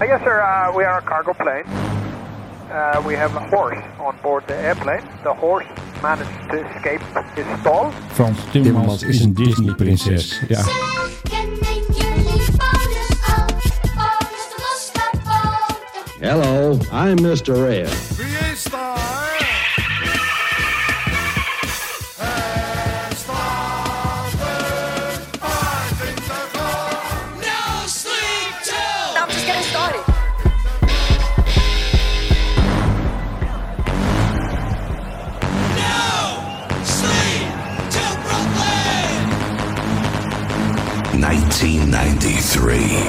Uh, yes, sir. Uh, we are a cargo plane. Uh, we have a horse on board the airplane. The horse managed to escape his stall. Frans Timmermans is een Disney-prinses. Ja. Zij kennen jullie bonus al. Bonus de mosterdpoten. Hello, I'm Mr. Red. Fiesta, eh? Fiesta, de paard in de gang. No sleep till I'm just getting started. no sleep till Brooklyn. 1993.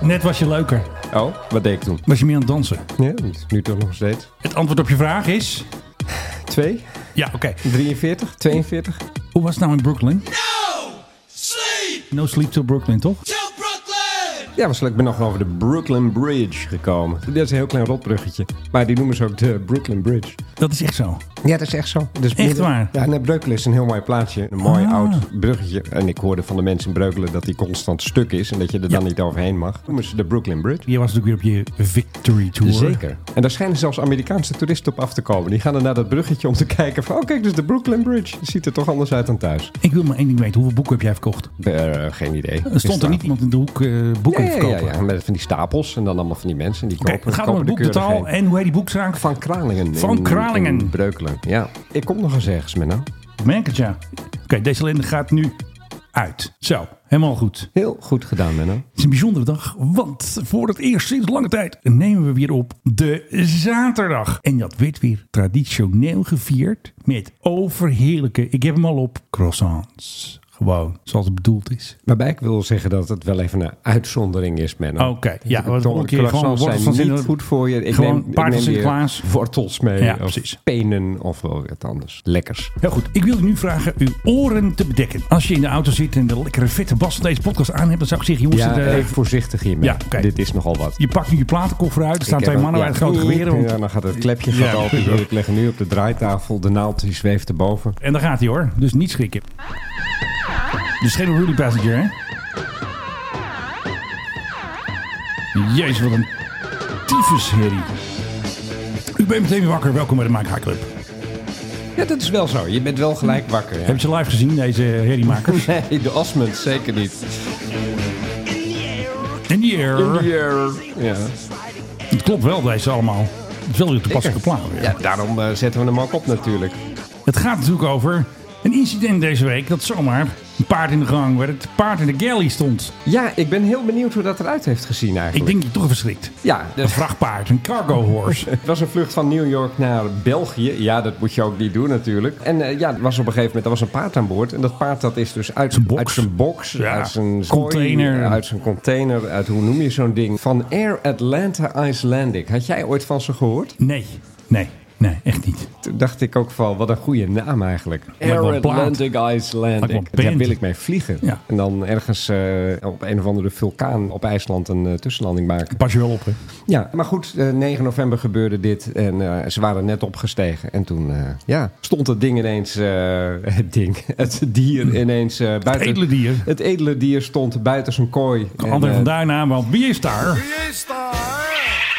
Net was je leuker. Oh, wat deed ik toen? Was je meer aan het dansen. Ja, dat is nu toch nog steeds. Het antwoord op je vraag is... 2, Ja, oké. 43, 42. Hoe was het nou in Brooklyn? No sleep No sleep till Brooklyn, toch? till Brooklyn. Ja, was leuk. Ik ben nog over de Brooklyn Bridge gekomen. Dit is een heel klein rotbruggetje. Maar die noemen ze ook de Brooklyn Bridge. Dat is echt zo. Ja, dat is echt zo. Dus Echt waar? Ja, nee, Breukelen is een heel mooi plaatsje. Een mooi Ah. oud bruggetje. En ik hoorde van de mensen in Breukelen dat die constant stuk is. En dat je er dan niet overheen mag. Noemen ze de Brooklyn Bridge. Je was natuurlijk weer op je victory tour. En daar schijnen zelfs Amerikaanse toeristen op af te komen. Die gaan dan naar dat bruggetje om te kijken van... Oh, kijk, dus de Brooklyn Bridge. Ziet er toch anders uit dan thuis. Ik wil maar één ding weten. Hoeveel boeken heb jij verkocht? Eh, geen idee. Er stond er niet iemand in de hoek eh, boeken te ja, ja, verkopen? ja, ja, met van die stapels en dan allemaal van die mensen. Die Oké, kopen, het gaat om kopen het de keurig boekbetaal heen. en hoe heet die boekzaak? Van Van Kralingen. Van in- Kralingen. in Breukelen, ja. Ik kom nog eens ergens, Menno. Merkertja. Oké, deze lende gaat nu uit. Zo, helemaal goed. Heel goed gedaan, Menno. Het is een bijzondere dag, want voor het eerst sinds lange tijd nemen we weer op de zaterdag. En dat werd weer traditioneel gevierd met overheerlijke, ik heb hem al op, croissants. Gewoon, zoals het bedoeld is. Waarbij ik wil zeggen dat het wel even een uitzondering is, Menno. Oké, Oh, ja, Want want een keer croissants gewoon wortels van zijn niet Sinterklaas- goed voor je. Ik gewoon neem, ik paard van neem weer Sinterklaas. wortels mee, Ja, of precies. penen, of wel wat anders. Lekkers. Heel goed, ik wil u nu vragen uw oren te bedekken. Als je in de auto zit en de lekkere vette bas van deze podcast aan hebt, dan zou ik zeggen, jongens, Ja, het, eh, even voorzichtig hiermee. Ja, oké. Dit is nogal wat. je pakt nu je platenkoffer uit, er staan Ik twee heb mannen een- bij het grote geweren. want- Ja, dan gaat het klepje gaat Ja. open. Hier, Ik leg hem nu op de draaitafel. De naald die zweeft erboven. En daar gaat hij hoor, dus niet schrikken. Dus geen Rudy Passenger, hè? Jezus, wat een tyfusherrie. U bent meteen weer wakker, welkom bij de Mike High Club. Ja, dat is wel zo. Je bent wel gelijk wakker. Heb je ze live gezien, deze herriemakers? Nee, de Osmond zeker niet. In the air. Ja. Het klopt wel, deze allemaal. Het is wel weer een toepasselijke plaat. weer. ja, daarom eh, zetten we hem ook op natuurlijk. Het gaat natuurlijk over een incident deze week dat zomaar een paard in de gang werd. Het paard in de galley stond. Ja, ik ben heel benieuwd hoe dat eruit heeft gezien Ik eigenlijk. denk dat je toch even schrikt. Ja, dus- Een dat- vrachtpaard, een cargo horse. het was een vlucht van New York naar België. Ja, dat moet je ook niet doen natuurlijk. En eh, ja, er was op een gegeven moment er was een paard aan boord. En dat paard dat is dus uit Zijn box. uit zijn box, Ja, uit zijn kooi, container. uit zijn container, uit hoe noem je zo'n ding? Van Air Atlanta Icelandic. Had jij ooit van ze gehoord? Nee, nee, nee, echt niet. Toen dacht ik ook van, wat een goede naam eigenlijk. Lijkt wel een plaat. Lijkt wel Icelandic. een Daar band. wil ik mee vliegen. Ja. En dan ergens eh, op een of andere vulkaan op IJsland een eh, tussenlanding maken. Pas je wel op, hè? Ja, maar goed, eh, 9 november gebeurde dit en eh, ze waren net opgestegen. En toen eh, ja, stond het ding ineens, eh, het ding, het dier ineens eh, buiten. edele dier. Het edele dier stond buiten zijn kooi. En, André eh, van Duin aan, want wie is daar? Fiesta,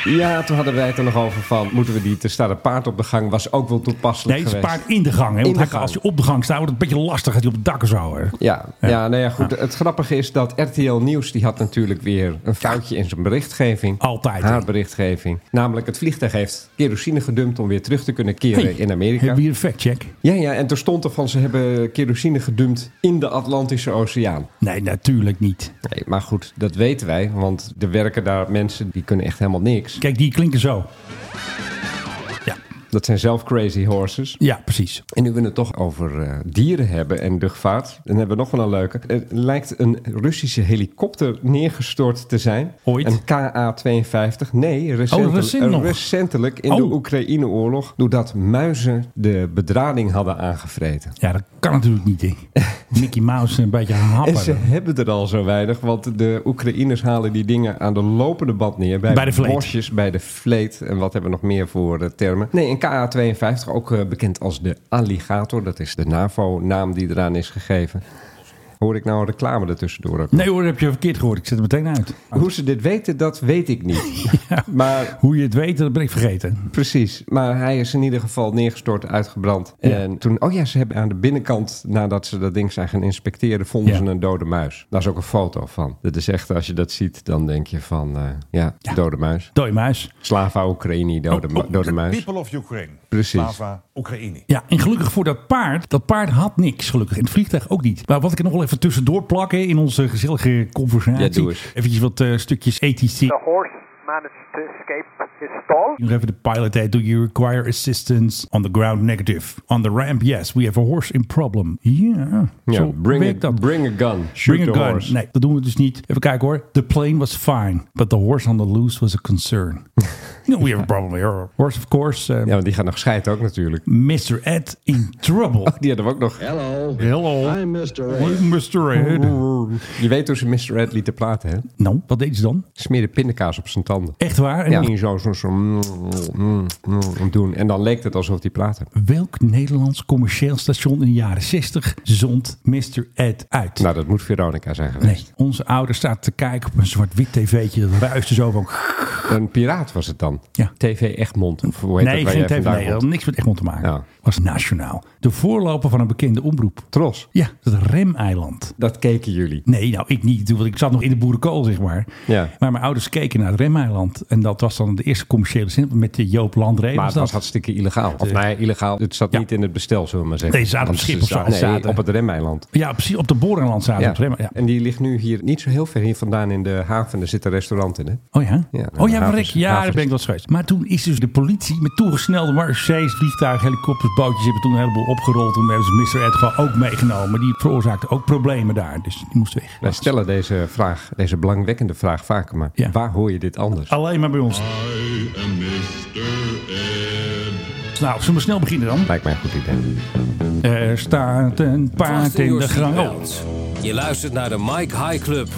ja, toen hadden wij het er nog over van, moeten we die, er staat een paard op de gang, was ook wel toepasselijk Nee, het is geweest. paard in de gang. Hè? In Want de hij- gang. als je op de gang staat, wordt het een beetje lastig. Gaat hij op het dak of zo. Hè? Ja, ja. nou ja, goed. Het grappige is dat RTL Nieuws, die had natuurlijk weer een foutje in zijn berichtgeving. Altijd, hè? Haar berichtgeving. Namelijk, het vliegtuig heeft kerosine gedumpt om weer terug te kunnen keren Hey, in Amerika. Hebben we hier een factcheck? Ja, ja, en er stond er van ze hebben kerosine gedumpt in de Atlantische Oceaan. Nee, natuurlijk niet. Nee, maar goed, dat weten wij, want er werken daar mensen die kunnen echt helemaal niks. Kijk, die klinken zo. Ja, Dat zijn zelf crazy horses. ja precies. En nu we het toch over eh, dieren hebben en luchtvaart, dan hebben we nog wel een leuke. Er lijkt een Russische helikopter neergestort te zijn. Ooit? Oh, Een KA-52. Nee, recentelijk, recent eh, nog. recentelijk in Oh. de Oekraïne-oorlog. Doordat muizen de bedrading hadden aangevreten. Ja, dat kan natuurlijk niet. Hè? Mickey Mouse een beetje happen. En ze hebben er al zo weinig, want de Oekraïners halen die dingen aan de lopende band neer. Bij, Bij de vleet. Bosjes, bij de vleet. En wat hebben we nog meer voor eh, termen? Nee, een KA-52, ook eh, bekend als de alligator. Dat is de NAVO-naam die eraan is gegeven. Hoor ik nou een reclame ertussendoor ook? Nee hoor, dat heb je verkeerd gehoord. Ik zet het meteen uit. Hoe ze dit weten, dat weet ik niet. Maar Hoe je het weet, dat ben ik vergeten. precies. Maar hij is in ieder geval neergestort, uitgebrand. En toen, oh ja, ze hebben aan de binnenkant, nadat ze dat ding zijn gaan inspecteren, vonden Ja. ze een dode muis. Daar is ook een foto van. Dat is echt, als je dat ziet, dan denk je van, eh, ja, dode muis. Dode muis. Slava Oekraïne, dode, mu- dode muis. People of Ukraine. Precies. Slava Oekraïne. Ja, en gelukkig voor dat paard. Dat paard had niks, gelukkig. En het vliegtuig ook niet. Maar wat ik er nog wel even tussendoor plak hè, in onze gezellige conversatie. Ja, doe eens. Eventjes wat eh, stukjes ethisch. The horse managed to escape his stall. Nog even de pilot. Hey, do you require assistance? On the ground, negative. On the ramp, yes. We have a horse in problem. Yeah. Ja, Zo werkt bring, a, dat. bring a gun. Shoot Bring a the gun. horse. Nee, dat doen we dus niet. Even kijken hoor. The plane was fine, but the horse on the loose was a concern. no, we have a problem here. Horse, of course. eh, Ja, want die gaat nog scheiden ook natuurlijk. Mr. Ed in trouble. Die hadden we ook nog. Hello. Hello. I'm Mr. Ed. Hey, Mr. Ed. Je weet hoe ze Mr. Red lieten praten, hè? Nou, wat deden ze dan? Smeerde pindakaas op zijn tanden. Echt waar? En Ja. Ging zo, zo, zo mm, mm, mm, doen. En dan leek het alsof die praten. Welk Nederlands commercieel station in de jaren 60 zond Mr. Ed uit? Nou, dat moet Veronica zijn Nee, geweest. onze ouder staat te kijken op een zwart-wit tv'tje. Dat ruiste zo van... Een piraat was het dan. Ja. TV Egmond. Of hoe heet nee, dat, waar geen jij tv. vandaan Nee, dat had komt? niks met Egmond te maken. Ja. was nationaal. De voorloper van een bekende omroep. Tros. Ja, dat remeiland. Dat keken jullie. Nee, nou ik niet, want ik zat nog in de boerenkool, zeg maar. Ja. Maar mijn ouders keken naar het remeiland. En dat was dan de eerste commerciële zin met de Joop Landree. Maar was het was dat. hartstikke illegaal. Of nou ja, illegaal. Het zat Ja. niet in het bestel, zullen we maar zeggen. Nee, ze zaten op Want schip of zo. zaten- Ze zaten- Nee, op het Remeiland. Ja, precies, op de Borenland zaten Ja. op het rem- ja. En die ligt nu hier niet zo heel ver hier vandaan in de haven. Daar zit een restaurant in, hè? Oh ja? Ja, nou, oh ja, havens- verrek. Ja, daar havens. ben ik wel eens geweest. Maar toen is dus de politie met toegesnelde Marseilles, vliegtuigen, helikopters, bootjes... hebben toen een heleboel opgerold. Toen hebben ze Mr. Ed gewoon ook meegenomen. Maar die veroorzaakte ook problemen daar. Dus die moest weg. Wij stellen deze vraag, deze belangwekkende vraag vaker, maar Ja. waar hoor je dit anders? Alleen maar bij ons. Nou, zullen we snel beginnen dan? Lijkt mij een goed idee. Er staat een paard in de gang. Oh, Je luistert naar de Mike High Club.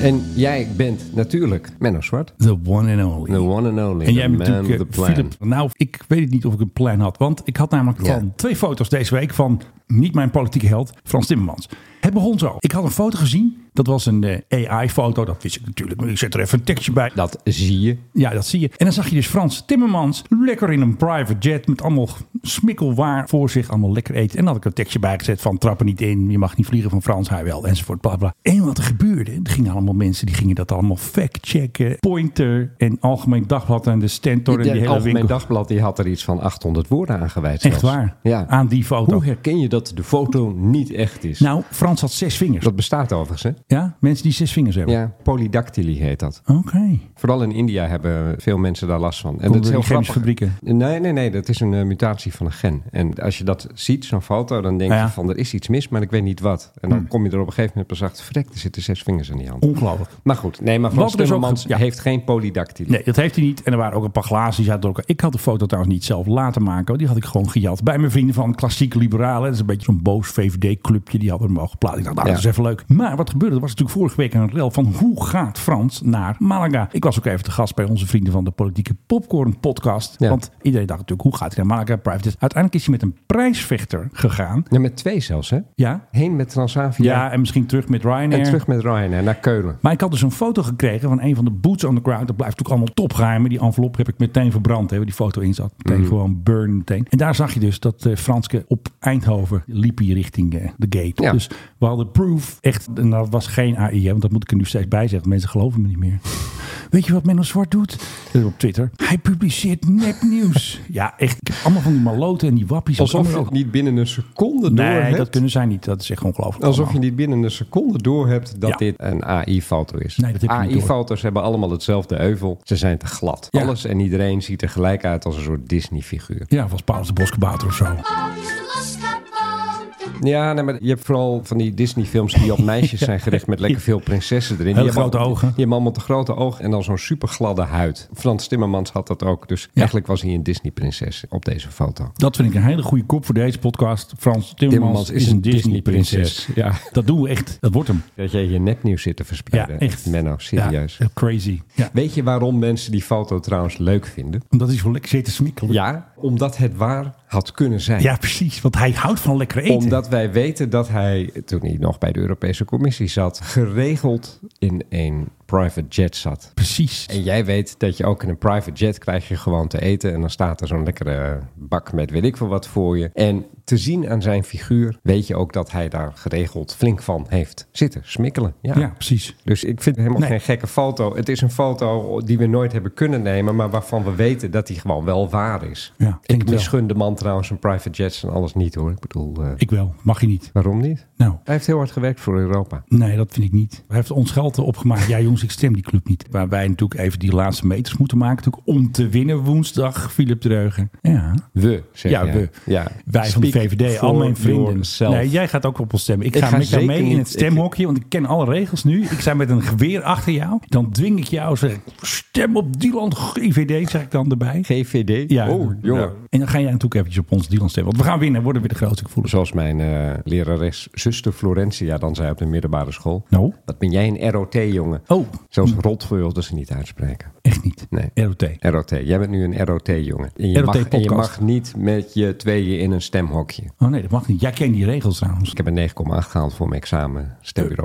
En jij bent natuurlijk Menno Zwart. the one and only. The one and only. En jij the bent man, natuurlijk the eh, plan. Philip. Nou, ik weet het niet of ik een plan had. Want ik had namelijk Ja. van twee foto's deze week van niet mijn politieke held, Frans Timmermans. Het begon zo. Ik had een foto gezien. Dat was een AI-foto. Dat wist ik natuurlijk. Maar ik zet er even een tekstje bij. Dat zie je. Ja, dat zie je. En dan zag je dus Frans Timmermans lekker in een private jet met allemaal smikkelwaar voor zich, allemaal lekker eten. En dan had ik een tekstje bijgezet van trappen niet in, je mag niet vliegen van Frans, hij wel, enzovoort, bla bla. En wat er gebeurde, er gingen allemaal mensen, die gingen dat allemaal factchecken. Pointer en Algemeen Dagblad en de Stentor en die Het hele Algemeen winkel. Dagblad die had er iets van 800 woorden aan gewijd. Echt zelfs. waar? Ja. Aan die foto. Hoe herken je dat de foto niet echt is? Nou, Frans had zes vingers. Dat bestaat overigens, hè? Ja, mensen die zes vingers hebben. Ja, polydactyly heet dat. Oké. Vooral in India hebben veel mensen daar last van. En Komt dat door is heel die grappig. chemische Nee, nee, nee. Dat is een eh, mutatie van een gen. En als je dat ziet, zo'n foto, dan denk Nou Ja. Hm. je van er is iets mis, maar ik weet niet wat. En dan kom je er op een gegeven moment pas achter. Verrek, er zitten zes vingers aan die hand. Ongelooflijk. Maar goed, nee, maar Frans Wat er dus ook Timmermans ge- ja. heeft geen polydactyly. Nee, dat heeft hij niet. En er waren ook een paar glazen die zaten door elkaar. Ik had de foto trouwens niet zelf laten maken. want Die had ik gewoon gejat bij mijn vrienden van Klassiek Liberalen. Dat is een beetje zo'n boos VVD-clubje. Die hadden hem al geplaatst. Ik dacht, nou, Ja. dat is even leuk. Maar wat gebeurde, er was natuurlijk vorige week een rel van hoe gaat Frans naar Malaga? Ik was ook even te gast bij onze vrienden van de Politieke Popcorn podcast. Ja. Want iedereen dacht natuurlijk, hoe gaat hij naar Malaga? Private. jet? Uiteindelijk is hij met een prijsvechter gegaan. Nee, met twee zelfs, hè? Ja. Heen met Transavia Ja, en misschien terug met Ryanair. en terug met Ryanair naar Keulen. Maar ik had dus een foto gekregen van een van de boots on the ground. Dat blijft natuurlijk allemaal topgeheim. Maar Die envelop heb ik meteen verbrand, hè, waar die foto in zat. Meteen Mhm. gewoon burn meteen. En daar zag je dus dat eh, Franske op Eindhoven liep hier richting eh, de gate. Ja. Dus we hadden proof. Echt, en dat was geen AI, hè, want dat moet ik er nu steeds bij zeggen. Mensen geloven me niet meer. Weet je wat Menno Zwart doet? Dat is op Twitter. Hij publiceert nepnieuws. ja, echt. Ik heb allemaal van die maloten en die wappies. Alsof je Allemaal- het niet binnen een seconde door Nee, hebt. dat kunnen zij niet. Dat is echt ongelooflijk. Alsof je allemaal. niet binnen een seconde door hebt dat Ja. dit een AI-foto is. Nee, dat heb je niet door. AI-foto's hebben allemaal hetzelfde euvel. Ze zijn te glad. Ja. Alles en iedereen ziet er gelijk uit als een soort Disney-figuur. Ja, was Paulus de Boskabouter of zo. Paulus de Loskapoten. Ja, nee, maar je hebt vooral van die Disney-films die op meisjes zijn gericht met lekker veel prinsessen erin. Die hebben grote al- ogen. Die hebben allemaal te grote ogen en dan zo'n super gladde huid. Frans Timmermans had dat ook. Dus eigenlijk was hij een Disney-prinses op deze foto. Dat vind ik een hele goede kop voor deze podcast. Frans Timmermans, Timmermans is een Disney-prinses. Ja. Dat doen we echt. Dat wordt hem. Dat jij je nepnieuws zit te Ja, verspreiden. echt. Menno, serieus. Ja, crazy. Ja, Weet je waarom mensen die foto trouwens leuk vinden? omdat hij zo lekker zit te smikkelen. Ja, omdat het waarheid had kunnen zijn. Ja, precies. Want hij houdt van lekker eten. Omdat wij weten dat hij, toen hij nog bij de Europese Commissie zat, geregeld in een private jet zat. Precies. En jij weet dat je ook in een private jet krijg je gewoon te eten. En dan staat er zo'n lekkere bak met weet ik veel wat voor je. En te zien aan zijn figuur weet je ook dat hij daar geregeld flink van heeft zitten. Smikkelen. Ja. Ja, precies. Dus ik vind helemaal Nee. geen gekke foto. Het is een foto die we nooit hebben kunnen nemen, maar waarvan we weten dat die gewoon wel waar is. Ja, denk ik het misgun de man trouwens zijn private jets en alles niet hoor. Ik bedoel, eh, Ik wel. Mag je niet. waarom niet? Nou, Hij heeft heel hard gewerkt voor Europa. nee, dat vind ik niet. Hij heeft ons geld opgemaakt. Ja, jongens, ik stem die club niet. Waar wij natuurlijk even die laatste meters moeten maken. Natuurlijk om te winnen woensdag, Philip Dreugen. Ja. We, zeg Ja, jij. we. Ja. Wij van de Speak VVD, for al mijn vrienden. yourself. Nee, jij gaat ook op ons stemmen. Ik, Ik ga, ga met jou zeker mee in niet. het stemhokje, want ik ken alle regels nu. Ik sta met een geweer achter jou. Dan dwing ik jou, zeg ik, stem op Dylan IVD, zeg ik dan erbij. GVD? Ja, oh, jongen. Ja. En dan ga jij natuurlijk eventjes op ons Dylan stemmen. Want we gaan winnen, worden weer de grootste gevoelens. Zoals mijn eh, lerares zuster Florentia dan zei op de middelbare school. Nou? Wat ben jij een ROT, jongen? Oh. Zelfs rot wilde ze niet uitspreken. Echt niet. Nee. ROT. ROT. Jij bent nu een ROT, jongen. En je, mag, en je ROT-podcast. mag niet met je tweeën in een stemhokje. Oh nee, dat mag niet. Jij kent die regels trouwens. Ik heb een 9,8 gehaald voor mijn examen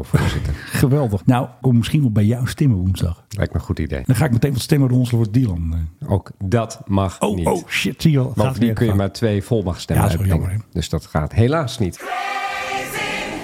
stembureauvoorzitter. Geweldig. Nou, ik kom misschien wel bij jou stemmen woensdag. Lijkt me een goed idee. Dan ga ik meteen wat stemmen ronselen voor Dylan. Ook dat mag Oh, niet. oh, shit, zie je wel. Gaat Bovendien weer kun je fout. maar twee volmachtstemmen Ja, dat is wel uitbrengen. jammer, dus dat gaat helaas niet.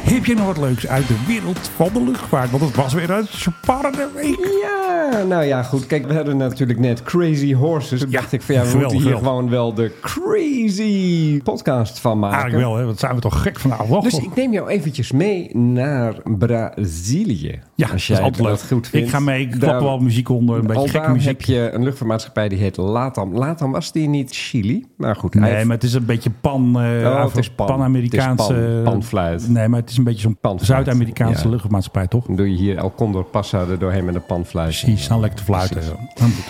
Heb je nog wat leuks uit de wereld van de luchtvaart? Want het was weer een spannende week. Ja, nou ja, goed. Kijk, we hadden natuurlijk net Crazy Horses. Toen Ja, dacht ik van ja, we geweldig, moeten hier geweldig. Ah, gewoon wel de crazy podcast van maken. Eigenlijk wel, hè? Want zijn we toch gek vanavond? Dus ik neem jou eventjes mee naar Brazilië. ja, dat als is jij altijd leuk. dat goed vindt. Ik ga mee, ik Daar- klap er wel muziek onder, een beetje Al gekke daar muziek. heb je een luchtvaartmaatschappij die heet Latam. Latam was die niet Chili, maar goed. hij Nee, heeft- maar het is een beetje pan, eh Oh, Afro- het is pan. pan-Amerikaanse... Het is pan- panfluit. Nee, maar het is een beetje zo'n Panfluit, Zuid-Amerikaanse ja. luchtvaartmaatschappij, toch? Dan doe je hier El Condor Passa er doorheen met een panfluit. Die staan lekker te fluiten. zo.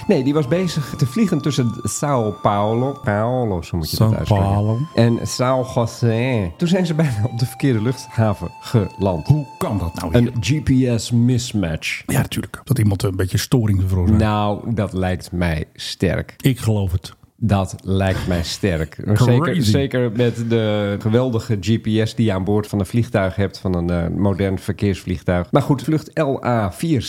Nee, die was bezig te vliegen tussen Sao Paulo. Paulo, zo moet je Sao dat uitspreken. Paulo. En Sao José. Toen zijn ze bijna op de verkeerde luchthaven geland. Hoe kan dat nou? Een GPS mismatch. Ja, natuurlijk. Dat iemand een beetje storing veroorzaakt. Nou, dat lijkt mij sterk. Ik geloof het. Dat lijkt mij sterk. Zeker, zeker met de geweldige GPS die je aan boord van een vliegtuig hebt, van een eh, modern verkeersvliegtuig. Maar goed, vlucht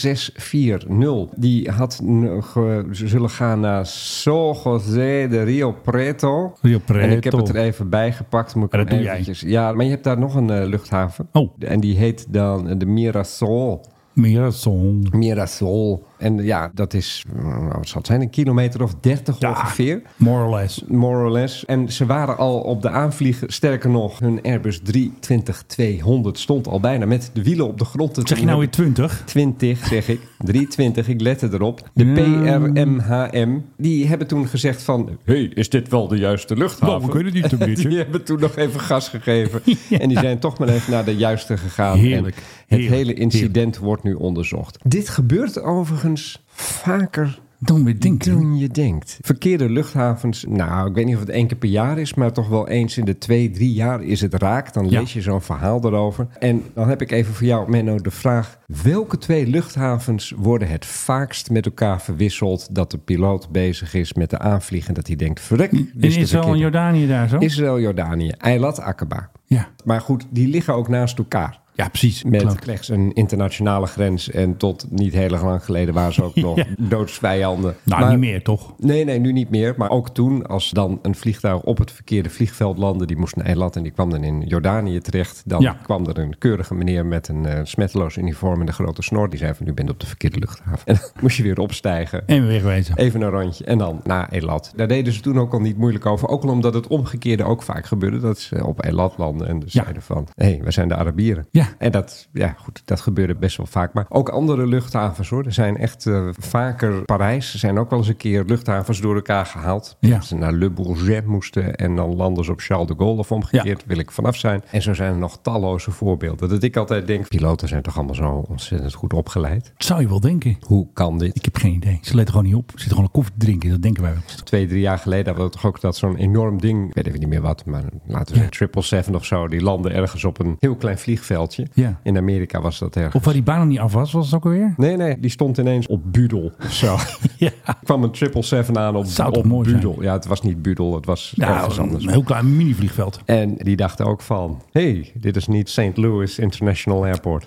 LA4640, die had n- ge- ze zullen gaan naar São José de Rio Preto. Rio Preto. En ik heb het er even bij gepakt. Moet ik Maar dat hem doe jij. eventjes- Ja, maar je hebt daar nog een eh, luchthaven. Oh. En die heet dan de Mirasol. Mirason. Mirasol. En ja, dat is, mm, wat zal het zijn, een kilometer of 30 Ja. ongeveer. More or less. More or less. En ze waren al op de aanvliegen. Sterker nog, hun Airbus 320-200 stond al bijna met de wielen op de grond. Wat Zeg je nou weer 20? 20, zeg ik. 320, ik lette erop. De PRMHM, die hebben toen gezegd van... hey, is dit wel de juiste luchthaven? Nou, we kunnen niet een beetje. Die hebben toen nog even gas gegeven. En die zijn toch maar even naar de juiste gegaan. Heerlijk, En het heerlijk, hele incident wordt nu onderzocht. Dit gebeurt overigens vaker Dan weer denken. dan je denkt. Verkeerde luchthavens, nou, ik weet niet of het één keer per jaar is, maar toch wel eens in de twee, drie jaar is het raak. Dan Ja. lees je zo'n verhaal erover. En dan heb ik even voor jou, Menno, de vraag: welke twee luchthavens worden het vaakst met elkaar verwisseld dat de piloot bezig is met de aanvliegen? Dat hij denkt: verrek, dit In is de Israël en verkeerde. Jordanië daar zo? Israël, Jordanië, Eilat, Aqaba. Ja. Maar goed, die liggen ook naast elkaar. Ja, precies. Met Klopt. slechts een internationale grens. En tot niet heel erg lang geleden waren ze ook nog Ja. doodsvijanden. Nou, Maar- niet meer toch? Nee, nee, nu niet meer. Maar ook toen, als dan een vliegtuig op het verkeerde vliegveld landde, die moest naar Eilat en die kwam dan in Jordanië terecht. Dan Ja. kwam er een keurige meneer met een eh, smetteloos uniform en een grote snor. Die zei van, nu bent op de verkeerde luchthaven. En dan moest je weer opstijgen. En weer wegwezen. Even een rondje en dan naar Elat. Daar deden ze toen ook al niet moeilijk over. Ook al omdat het omgekeerde ook vaak gebeurde. Dat ze op Elat landen en dus Ja. zeiden van... hé, hey, we zijn de Arabieren. Ja. En dat, ja, goed, dat gebeurde best wel vaak. Maar ook andere luchthavens hoor. Er zijn echt eh, vaker... Parijs er zijn ook wel eens een keer luchthavens door elkaar gehaald. Ja. Dat ze naar Le Bourget moesten en dan landen ze op Charles de Gaulle of omgekeerd. Wil ik vanaf zijn. En zo zijn er nog talloze voorbeelden. Dat ik altijd denk, piloten zijn toch allemaal zo ontzettend goed opgeleid. Dat zou je wel denken. Hoe kan dit? Ik heb geen idee. Ze letten gewoon niet op. Ze zitten gewoon een koffie te drinken. Dat denken wij wel. eens. Twee, drie jaar geleden hadden we toch ook dat zo'n enorm ding, ik weet even niet meer wat, maar laten we Ja. zeggen 777 of zo, die landde ergens op een heel klein vliegveldje. Ja. In Amerika was dat ergens. Of waar die baan nog niet af was, was het ook alweer? Nee, nee, die stond ineens op Budel of zo. Ja. kwam een 777 aan op, Zou toch op mooi zijn? Budel. Ja, het was niet Budel, het was Nou, ergens anders. een heel klein mini-vliegveld. En die dachten ook van, hé, hey, dit is niet St. Louis International Airport.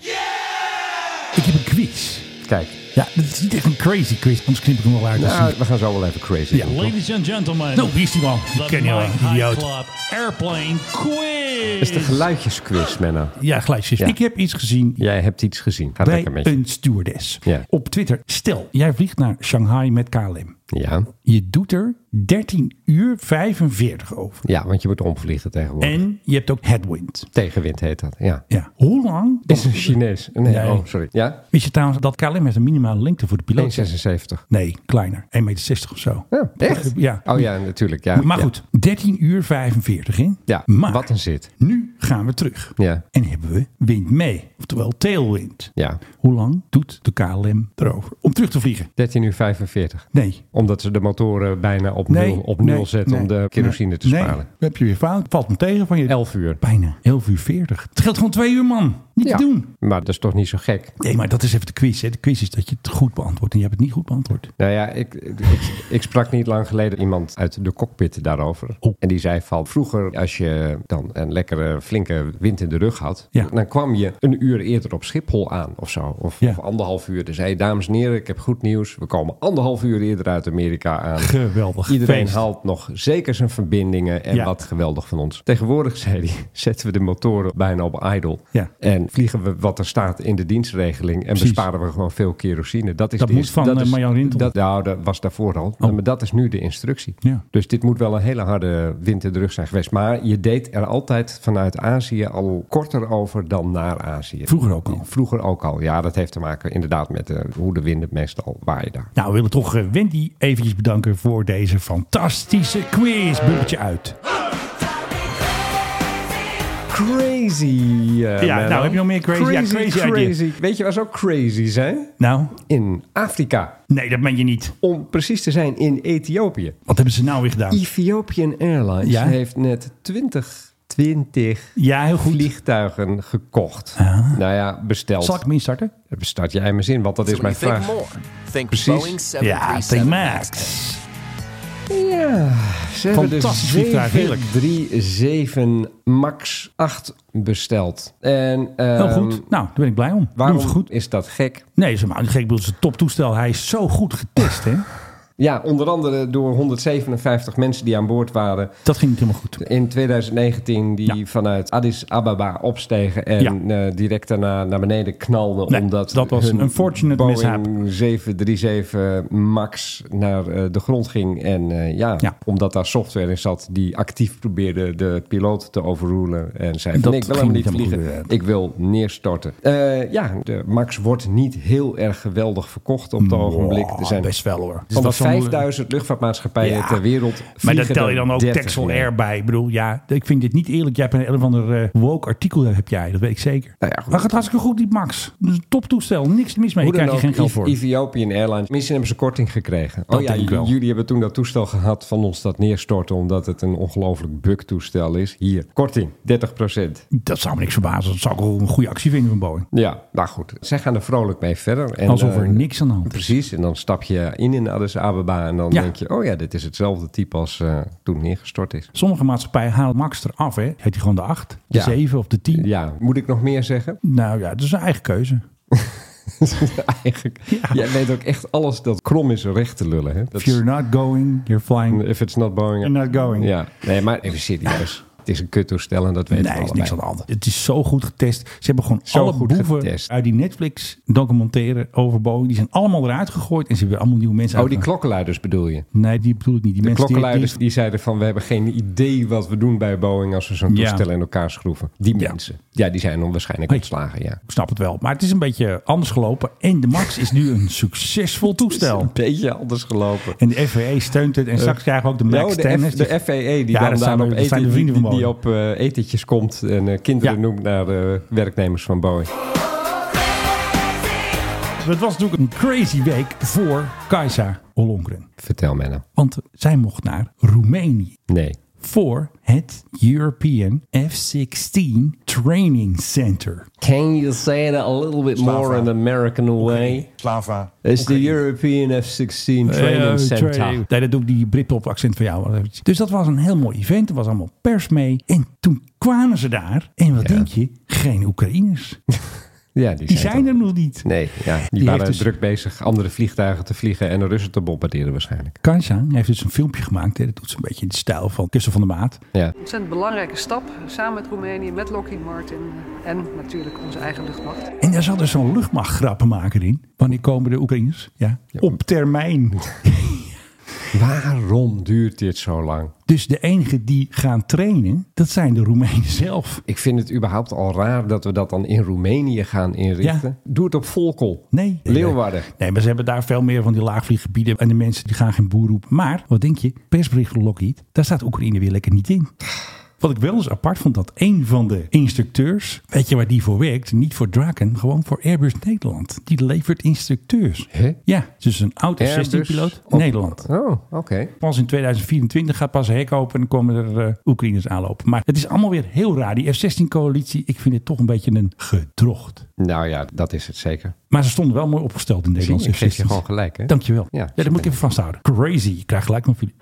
Ik heb een quiz. Kijk, Ja, dat is niet echt een crazy quiz. Anders knip ik hem wel uit. Dat is nou, niet- we gaan zo wel even crazy Ja. doen, toch? Ladies and gentlemen, Nou, wie is die man? Ik the ken je wel, Mike High idioot. Club Airplane Het is de Quiz. geluidjesquiz, Menna. Ja, geluidjes. Ja. Ik heb iets gezien Jij hebt iets gezien. Ga bij lekker met je. een stewardess. Ja. Op Twitter. Stel, jij vliegt naar Shanghai met KLM. Ja. Je doet er 13 uur 45 over. ja, want je wordt omvliegen tegenwoordig. En je hebt ook headwind. Tegenwind heet dat, ja. Ja. Hoe lang Is een Chinees. Nee, Nee. oh, sorry. Ja? Wist je trouwens dat KLM heeft een minimale lengte voor de piloot? 1,76. Nee, kleiner. 1,60 meter of zo. Ja, echt? Ja. Oh ja, natuurlijk. Ja. maar Ja. goed, 13 uur 45 in. Ja, maar wat een zit. nu gaan we terug. Ja. En hebben we wind mee. Oftewel tailwind. Ja. Hoe lang doet de KLM erover om terug te vliegen? 13 uur 45. Nee. Omdat ze de motoren bijna op Nee. nul, op nul nee, zetten om nee, de kerosine nee, te Nee, sparen. dat heb je weer fout. Valt me tegen van je... 11 uur. Bijna. 11 uur 40. Het geldt gewoon twee uur, man. Niet Ja. te doen. Maar dat is toch niet zo gek? Nee, maar dat is even de quiz. Hè. De quiz is dat je het goed beantwoordt. En je hebt het niet goed beantwoord. Nou ja, ik, ik, ik sprak niet lang geleden iemand uit de cockpit daarover. Oh. En die zei van vroeger, als je dan een lekkere flinke wind in de rug had, Ja. dan kwam je een uur eerder op Schiphol aan of zo. Of, Ja. of anderhalf uur. Dus hey, dames en heren, ik heb goed nieuws. We komen anderhalf uur eerder uit Amerika aan. Geweldig. Iedereen Feest. haalt nog zeker zijn verbindingen en Ja. wat geweldig van ons. Tegenwoordig, zei hij, zetten we de motoren bijna op idle. Ja. En vliegen we wat er staat in de dienstregeling en besparen we gewoon veel kerosine. Dat, is Dat de moet inst- van, eh, is- Marjan Rintel. Dat, nou, dat was daarvoor al. Maar dat is nu de instructie. Oh. Ja. Dus dit moet wel een hele harde wind in de rug zijn geweest. Maar je deed er altijd vanuit Azië al korter over dan naar Azië. Vroeger ook al. Vroeger ook al. Ja, dat heeft te maken inderdaad met eh, hoe de winden meestal waaien daar. Nou, we willen toch eh, Wendy eventjes bedanken voor deze fantastische quiz. Bubbeltje uit. Crazy. eh, Ja, Menno. nou, heb je nog meer crazy? Ja, crazy idea. Weet je waar ze ook crazy zijn? Nou, In Afrika. nee, dat meen je niet. Om precies te zijn, in Ethiopië. Wat hebben ze nou weer gedaan? Ethiopian Airlines Ja? heeft net 20, 20 Ja, heel goed. vliegtuigen gekocht. Nou ja, besteld. Zal ik hem instarten? Start jij maar zin, want dat is mijn vraag. Think Precies. Boeing 737 Ja, Take Max. Ja, ze hebben Fantastisch dus vliegtuig, heerlijk. 737 MAX 8 besteld. En, Heel ehm, goed. Nou, daar ben ik blij om. Waarom? Waarom Doen ze goed. is dat gek? Nee, ze maar gek. Ik bedoel, het is een toptoestel. Hij is zo goed getest, hè? Ja, onder andere door 157 mensen die aan boord waren. Dat ging niet helemaal goed. In 2019 die Ja. vanuit Addis Ababa opstegen en Ja. eh, direct daarna naar beneden knalden. Nee, omdat dat was hun een unfortunate Boeing mishap. 737 MAX naar eh, de grond ging. En eh, ja, Ja. omdat daar software in zat die actief probeerde de piloot te overrulen. En zei van Dat nee, ik wil ging helemaal niet niet helemaal vliegen. goed, ja. Ik wil neerstorten. Eh, ja, de MAX wordt niet heel erg geweldig verkocht op het ogenblik. Oh, Er zijn best wel hoor. Dus van de dat is wel moeilijk. 5000 luchtvaartmaatschappijen Ja. ter wereld. Maar dat vliegen tel je er dan ook 30 Texel mee. Air bij. Ik bedoel, ja, ik vind dit niet eerlijk. Jij hebt een of ander eh, woke artikel, heb jij. Dat weet ik zeker. Nou ja, goed. Maar gaat hartstikke goed, die Max. Dat is een toptoestel. Niks mis mee. Hoe Daar dan krijg je ook, geen geld Eth- voor. Ethiopian Airlines. Misschien hebben ze korting gekregen. Dat oh ja, denk ik wel. jullie hebben toen dat toestel gehad van ons dat neerstortte... omdat het een ongelooflijk bug-toestel is. Hier, korting, 30 Dat zou me niks verbazen. Dat zou ik wel een goede actie vinden van Boeing. Ja, nou goed. Zij gaan er vrolijk mee verder. En, Alsof er eh, niks aan de hand is. Precies, en dan stap je in in Addis Ababa... en dan Ja. denk je, oh ja, dit is hetzelfde type als eh, toen neergestort is. Sommige maatschappijen halen Max eraf, hè? Heet hij gewoon de 8, de Ja. 7 of de 10? Ja, moet ik nog meer zeggen? Nou ja, dat is een eigen keuze. Eigenlijk. Jij weet ook echt alles dat krom is recht te lullen. Hè? Dat If you're not going, you're flying. If it's not Boeing. You're not going. Ja, nee, maar even serieus. Het is een kuttoestel en dat weten nee, we er is allebei. niks aan de hand. Het is zo goed getest. Ze hebben gewoon Zo alle goed boeven getest. uit die Netflix documentaire over Boeing. Die zijn allemaal eruit gegooid en ze hebben allemaal nieuwe mensen Oh, die uitgenodigd. klokkenluiders bedoel je? Nee, die bedoel ik niet. Die De mensen die- klokkenluiders die- die zeiden van... we hebben geen idee wat we doen bij Boeing... als we zo'n Ja. toestel in elkaar schroeven. Die Ja. mensen. Ja, die zijn onwaarschijnlijk Hey. ontslagen, ja. Ik snap het wel. Maar het is een beetje anders gelopen. En de Max is nu een succesvol toestel. Een beetje anders gelopen. En de FAA steunt het. En straks krijgen we ook de Nou, Max de, Ten. F- de FAA die Ja, dan dat zijn daar de- op, dat zijn de vrienden eten- van die, die Boeing. op eh, etentjes komt... en eh, kinderen Ja. noemt naar eh, werknemers van Boeing. Het was natuurlijk een crazy week voor Kajsa Ollongren. Vertel mij nou. Want zij mocht naar Roemenië Nee. voor het European F-16 Training Center. Can you say it a little bit more in the American way? Slava. It's the European F-16 Training Eh, Center. training. Nee, dat doe ik die Britpop accent van jou. wel eventjes. Dus dat was een heel mooi event. Er was allemaal pers mee. En toen kwamen ze daar. En wat Ja. denk je? Geen Oekraïners. Ja, die, Die zijn zijn toch- er nog niet. Nee, ja, die, heeft waren dus- druk bezig andere vliegtuigen te vliegen en de Russen te bombarderen waarschijnlijk. Kansha heeft dus een filmpje gemaakt. Hè. Dat doet ze een beetje in de stijl van Kussen van de Maat. Ja. ontzettend belangrijke stap samen met Roemenië, met Lockheed Martin en natuurlijk onze eigen luchtmacht. En daar zat dus zo'n luchtmachtgrappenmaker in. Wanneer komen de Oekraïners? Ja, op termijn. Waarom duurt dit zo lang? Dus de enige die gaan trainen, dat zijn de Roemenen zelf. Ik vind het überhaupt al raar dat we dat dan in Roemenië gaan inrichten. Doe het op Volkel. Nee. Leeuwarden. Nee, maar ze hebben daar veel meer van die laagvlieggebieden. En de mensen die gaan geen boer roepen. Maar, wat denk je? Persbericht van Lockheed. Daar staat Oekraïne weer lekker niet in. Wat ik wel eens apart vond, dat een van de instructeurs, weet je waar die voor werkt? Niet voor Draken, gewoon voor Airbus Nederland. Die levert instructeurs. Hè? Ja, dus een oud Airbus F-16-piloot, op- Nederland. Oh, oké. Pas in 2024 gaat pas een hek open en dan komen er eh, Oekraïners aanlopen. Maar het is allemaal weer heel raar. Die F-16-coalitie, ik vind het toch een beetje een gedrocht. Nou ja, dat is het zeker. Maar ze stonden wel mooi opgesteld in Zie, Nederland. ik geef je gewoon gelijk. Hè? Dankjewel. Ja, Ja, dat moet ik even vasthouden. Crazy. Ik krijg gelijk nog jullie.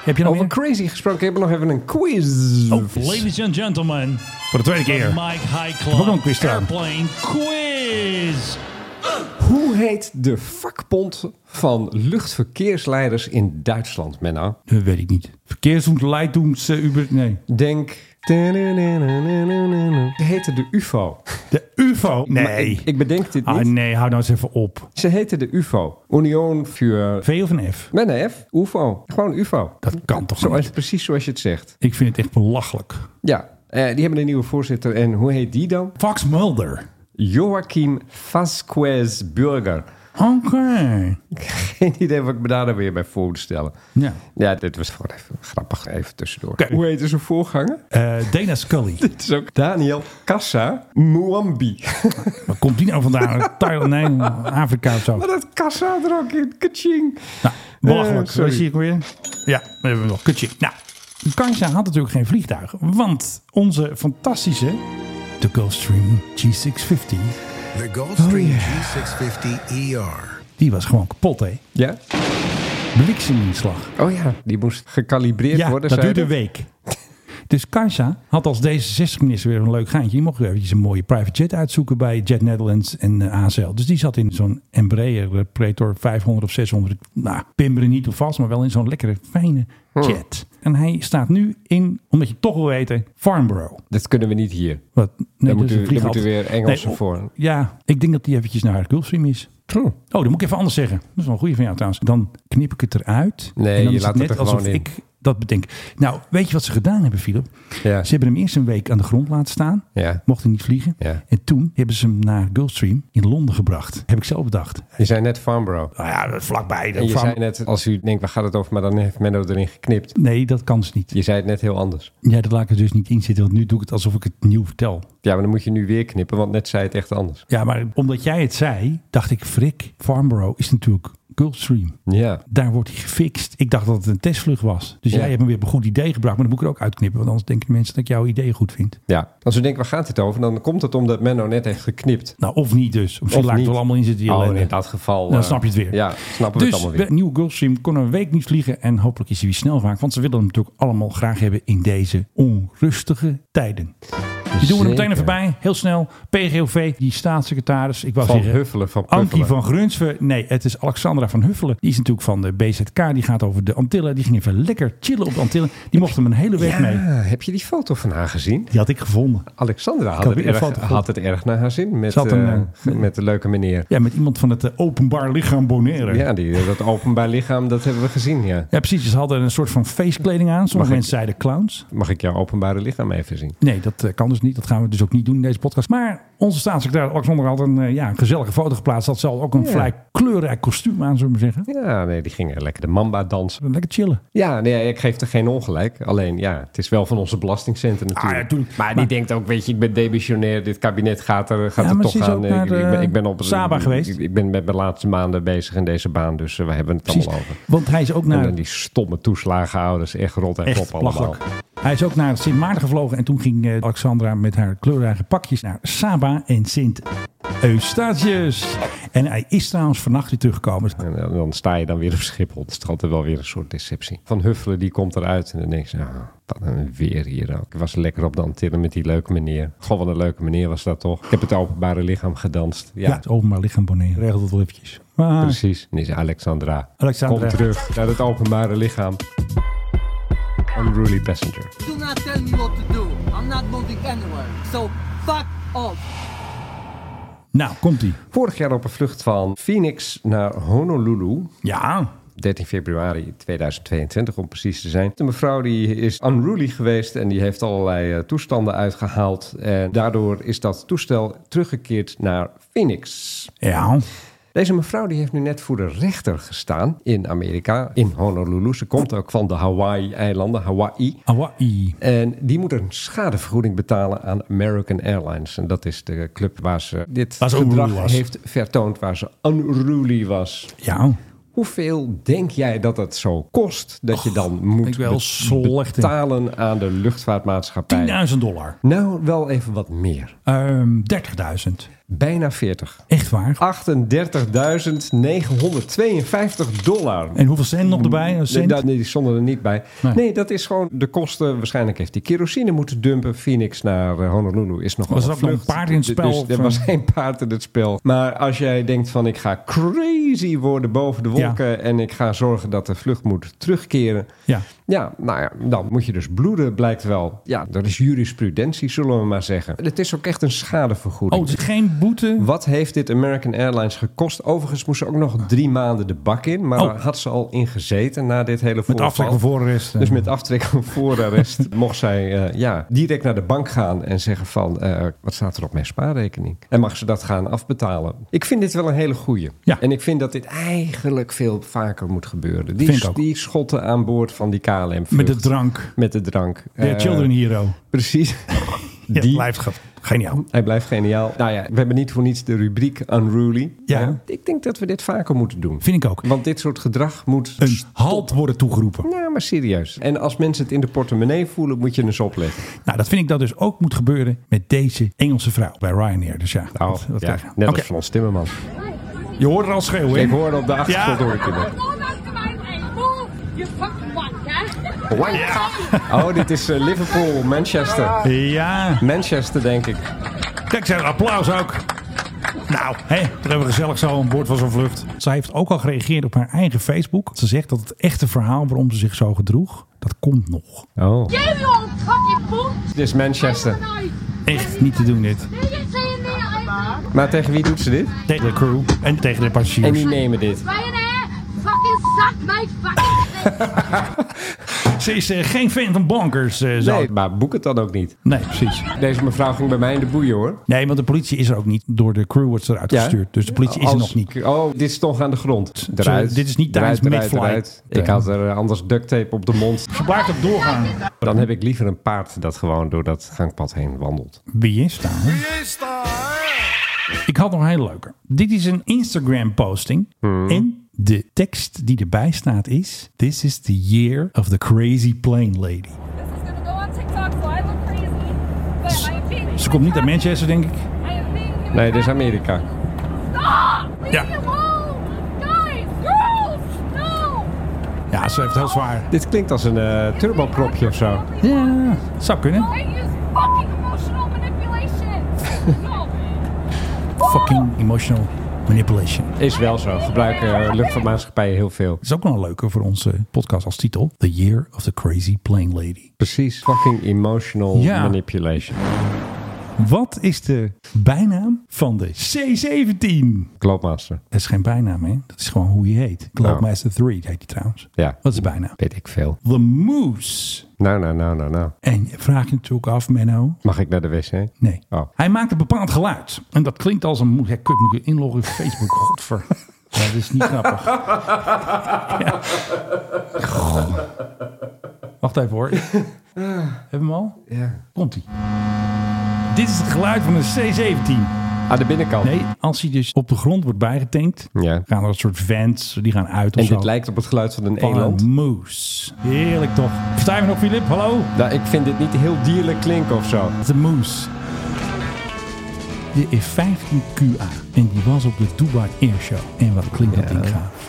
Heb je nou nog Over meer? crazy gesproken hebben we nog even een quiz. Oh, Ladies and gentlemen, Voor de tweede the keer. Mike High Wat een Club quiz daar. Airplane Quiz. Hoe heet de vakbond van luchtverkeersleiders in Duitsland, Menno? Dat weet ik niet. Verkeersdoensleiddoens, eh, Uber. Nee. Denk. Ze heette de UFO. De UFO. Maar Nee. Ik, ik bedenk dit Ah niet. nee, hou nou eens even op. Ze heette de UFO. Union voor V of een F? Met een F. UFO. Gewoon UFO. Dat kan toch Zo, niet? is precies zoals je het zegt. Ik vind het echt belachelijk. Ja. eh, die hebben een nieuwe voorzitter. En hoe heet die dan? Fox Mulder. Joachim Vasquez Burger. Oké. Geen idee wat ik me daar dan weer bij voor moet stellen. Ja. Ja, dit was gewoon even grappig. Even tussendoor. Oké. Hoe heette zijn voorganger? Eh, Dana Scully. Het is ook Daniel Kassa Muambi. Waar komt die nou vandaan? Thailand, nee, Afrika of zo. Maar dat Kassa er ook in. Kaching. Nou, belachelijk. Eh, sorry. Zo zie ik weer. Ja, dan hebben we nog. Kutje. Nou, Kansa had natuurlijk geen vliegtuig. Want onze fantastische... De Gulfstream G650... The Gulfstream G650ER. Oh, Die was gewoon kapot, hè? Ja? Blikseminslag. Oh ja, die moest gecalibreerd Ja, worden. dat zei duurde een hij. week. Dus Kansa had als D66-minister weer een leuk gaantje. Die mocht weer eventjes een mooie private jet uitzoeken bij Jet Netherlands en eh, ASL. Dus die zat in zo'n Embraer eh, Praetor 500 of 600. Nou, pimmer er niet op vast, maar wel in zo'n lekkere, fijne Hm. jet. En hij staat nu in, omdat je het toch wil weten, Farnborough. Dat kunnen we niet hier. Wat? Nee, dat is moeten een we- vliegveld. daar moeten we weer Engelsen oh, voor. Ja, ik denk dat die eventjes naar Gulfstream is. Oh, dat moet ik even anders zeggen. Dat is wel een goede van jou trouwens. Dan knip ik het eruit. Nee, en dan je is het laat het net er gewoon alsof in. ik dat bedenk. Nou, weet je wat ze gedaan hebben, Philip? Ja. Ze hebben hem eerst een week aan de grond laten staan. Ja. Mocht hij niet vliegen. Ja. En toen hebben ze hem naar Gulfstream in Londen gebracht. Heb ik zelf bedacht. Je zei net Farnborough. Nou ja, vlakbij. En De je farm- zei net, als u denkt, waar gaat het over? Maar dan heeft Menno erin geknipt. Nee, dat kan ze niet. Je zei het net heel anders. Ja, dat laat ik er dus niet in zitten. Want nu doe ik het alsof ik het nieuw vertel. Ja, maar dan moet je nu weer knippen, want net zei het echt anders. Ja, maar omdat jij het zei, dacht ik, frik, Farnborough is natuurlijk Gulfstream. Ja. Daar wordt hij gefixt. Ik dacht dat het een testvlucht was. Dus Ja. jij hebt hem weer op een goed idee gebracht. Maar dat moet ik er ook uitknippen. Want anders denken de mensen dat ik jouw idee goed vind. ja. Als u denkt, waar gaat het over? Dan komt het omdat Menno net heeft geknipt. Nou, of niet dus. Of, Of ze laat het niet. wel allemaal in zitten. die Oh, ellende. in dat geval... Dan eh, snap je het weer. Ja, snappen we Dus het allemaal weer. de nieuwe Gulfstream kon een week niet vliegen. En hopelijk is hij weer snel vaak. Want ze willen hem natuurlijk allemaal graag hebben in deze onrustige tijden. Die doen we er meteen even bij. Heel snel. PGOV, die staatssecretaris. Ik wou Van zeggen, Huffelen, van Ankie Puffelen. van Grunsven. Nee, het is Alexandra van Huffelen. Die is natuurlijk van de BZK. Die gaat over de Antillen. Die ging even lekker chillen op de Antillen. Die mocht hem een hele week Ja, mee. Ah, heb je die foto van haar gezien? Die had ik gevonden. Alexandra heb had het, weer een erg, foto had het erg naar haar zin met, Ze had een, eh, ge- met de leuke meneer. Ja, met iemand van het eh, openbaar lichaam Bonaire. Ja. Ja, die, dat openbaar lichaam, dat hebben we gezien, ja. precies. Ze hadden een soort van feestkleding aan. Sommige ik- mensen zeiden clowns. Mag ik jouw openbare lichaam even zien? Nee, dat eh, kan dus dus niet. Dat gaan we dus ook niet doen in deze podcast. Maar onze staatssecretaris Alexander had een eh, ja, een gezellige foto geplaatst. Dat zal ook een vrij kleurrijk kostuum aan, zullen we maar zeggen. Ja, nee, die gingen lekker de mamba dansen. Lekker chillen. Ja, nee, ik geef er geen ongelijk. Alleen, ja, het is wel van onze belastingcenten natuurlijk. Ah, ja, tuurlijk. maar die Maar- denkt ook, weet je, ik ben demissionair. Dit kabinet gaat er, gaat Ja, er maar ze toch is aan. ook Ik, naar ik de ben, ik ben op Saba geweest. Ik, ik ben met mijn laatste maanden bezig in deze baan, dus eh, we hebben het Precies. allemaal over. Want hij is ook En naar dan die stomme toeslagenhouders, echt rot en Echt top allemaal. belachelijk. Hij is ook naar Sint Maarten gevlogen en toen ging eh, Alexandra met haar kleurrijke pakjes naar Saba en Sint Eustatius. En hij is trouwens vannacht weer teruggekomen. En dan- dan sta je dan weer op Schiphol. Het is toch altijd wel weer een soort deceptie. Van Huffelen, die komt eruit en dan denk je, nou, wat een weer hier ook. Ik was lekker op de antenne met die leuke meneer. Goh, wat een leuke meneer was dat toch. Ik heb het openbare lichaam gedanst. Ja, Ja, het openbaar lichaam boneren. Regel dat wel eventjes. Ah, precies. En is Alexandra. Alexandra. Kom terug naar het openbare lichaam. Unruly passenger. Do not tell me what to do. I'm not moving anywhere. So fuck off. nou, komt hij. Vorig jaar op een vlucht van Phoenix naar Honolulu Ja, 13 februari 2022 om precies te zijn. De mevrouw die is unruly geweest en die heeft allerlei eh, toestanden uitgehaald. En daardoor is dat toestel teruggekeerd naar Phoenix. ja. Deze mevrouw die heeft nu net voor de rechter gestaan in Amerika, in Honolulu. Ze komt ook van de Hawaii-eilanden, Hawaii. Hawaii. En die moet een schadevergoeding betalen aan American Airlines. En dat is de club waar ze dit Waar ze gedrag unruly was. heeft vertoond, waar ze unruly was. Ja, Hoeveel denk jij dat het zo kost dat je dan moet ik wel slecht in. betalen aan de luchtvaartmaatschappij? 10.000 dollar. Nou, wel even wat meer. Ehm 30.000. Bijna 40. Echt waar. 38.952 dollar. En hoeveel cent nog erbij? Een Nee, cent? dat- nee, die stonden er niet bij. Nee. Nee. dat is gewoon de kosten. Waarschijnlijk heeft die kerosine moeten dumpen. Phoenix naar eh, Honolulu is nog Was er wel ook nog een eh? vlucht. paard in het Dus spel? er was geen paard in het spel. Maar als jij denkt van ik ga crazy worden boven de wolken... en ik ga zorgen dat de vlucht moet terugkeren... Ja. Ja, nou ja, dan moet je dus bloeden, blijkt wel. Ja, dat is jurisprudentie, zullen we maar zeggen. Het is ook echt een Oh, schadevergoeding. het is geen boete. Wat heeft dit American Airlines gekost? Overigens moest ze ook nog drie maanden de bak in. Maar Oh. daar had ze al in gezeten na dit hele voorval. Met aftrek van voorarrest. eh, Dus met aftrek van voorarrest mocht zij eh, ja, direct naar de bank gaan en zeggen van... eh, wat staat er op mijn spaarrekening? En mag ze dat gaan afbetalen? Ik vind dit wel een hele goeie. Ja. En ik vind dat dit eigenlijk veel vaker moet gebeuren. Die, Vind ik ook. die schotten aan boord van die klm Met de drank. Met de drank. De Eh, Children Hero. Precies. Ja, die- blijft ge- geniaal. Hij blijft geniaal. Nou ja, we hebben niet voor niets de rubriek Unruly. Ja. Eh, Ik denk dat we dit vaker moeten doen. Vind ik ook. Want dit soort gedrag moet... Een halt worden toegeroepen. Nou, maar serieus. En als mensen het in de portemonnee voelen, moet je eens opletten. Nou, dat vind ik dat dus ook moet gebeuren met deze Engelse vrouw bij Ryanair. Dus ja, wat- wat Nou, Oh, ja, krijg je? net Oké, als Frans Timmerman. Je hoort er al schreeuwen. hè? Ik hoorde op de achtergrond Ja. hoor ik je nog. Oh, dit is eh, Liverpool, Manchester. Ja, Manchester, denk ik. kijk, zijn applaus ook. Nou, hè, dat hebben we gezellig zo aan boord van zo'n vlucht. Zij heeft ook al gereageerd op haar eigen Facebook. Ze zegt dat het echte verhaal waarom ze zich zo gedroeg, dat komt nog. Oh. Dit is Manchester. Echt niet te doen dit. Maar tegen wie doet ze dit? Tegen de crew en tegen de En passagiers. die nemen dit. Ze is eh, geen fan van bonkers, eh zo. Nee, maar boek het dan ook niet. Nee, precies. Deze mevrouw ging bij mij in de boeien, hoor. Nee, want de politie is er ook niet. Door de crew wordt ze eruit Ja. gestuurd. Dus de politie is er Als- nog niet. Oh, dit stond aan de grond. Eruit. dit is niet Eruit, tijdens eruit, mid-flight. eruit. Ik had er eh, anders duct tape op de mond. Ze blijft op doorgaan. Dan heb ik liever een paard dat gewoon door dat gangpad heen wandelt. Wie is daar? Ik had nog een hele leuke. Dit is een Instagram posting. En de tekst die erbij staat is... This is the year of the crazy plane lady. Ze komt niet uit Manchester, denk ik. Nee, dit is Amerika. Ja. Ja, ze heeft het heel zwaar. Dit klinkt als een eh, turbopropje of zo. Ja, zou kunnen. Fucking emotional manipulation. Is wel zo. Gebruiken eh, luchtvaartmaatschappijen heel veel. is ook wel een leuke voor onze podcast als titel. The Year of the Crazy Plane Lady. Precies. Fucking emotional Ja. manipulation. Wat is de bijnaam van de C-17? Kloopmaster. Dat is geen bijnaam, hè? Dat is gewoon hoe je heet. Cloudmaster 3 heet die trouwens. Ja. Wat is de bijnaam? Weet ik veel. The Moose. Nou, nou, nou, nou, nou. En je vraagt je natuurlijk af, Menno. Mag ik naar de wc? Nee. Oh. Hij maakt een bepaald geluid. En dat klinkt als een... moe- Ja, kut, moet je inloggen op Facebook. Godver. Ja, dat is niet grappig. Ja. Goh. Wacht even hoor. Hebben we hem al? Ja. Komt ie. Dit is het geluid van een C-17. Aan de binnenkant. Nee, als hij dus op de grond wordt bijgetankt... Ja. gaan er een soort vents, die gaan uit of En zo. dit lijkt op het geluid van een van eland. een moes. Heerlijk toch. Versta je me nog, Filip? Hallo? Nou, ik vind dit niet heel dierlijk klinken of zo. Het is een moes. De F-15QA. En die was op de Dubai Air Show. En wat klinkt dat ding gaaf.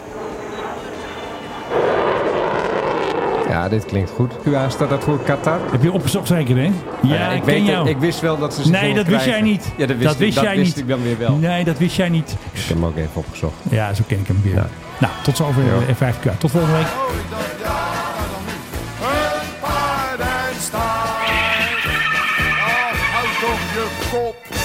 Ja, dit klinkt goed. QA staat dat voor Qatar? Heb je opgezocht zeker, hè? Ja, ik, ik weet ken het. jou. Ik wist wel dat ze ze nee, gingen dat wist jij krijgen. niet. Ja, dat wist, ik, dat jij wist niet. ik dan weer wel. Nee, dat wist jij niet. Ik heb hem ook even opgezocht. Ja, zo ken ik hem weer. Ja. Nou, tot zover Ja. de F-15QA. Tot volgende week. Houd op je kop.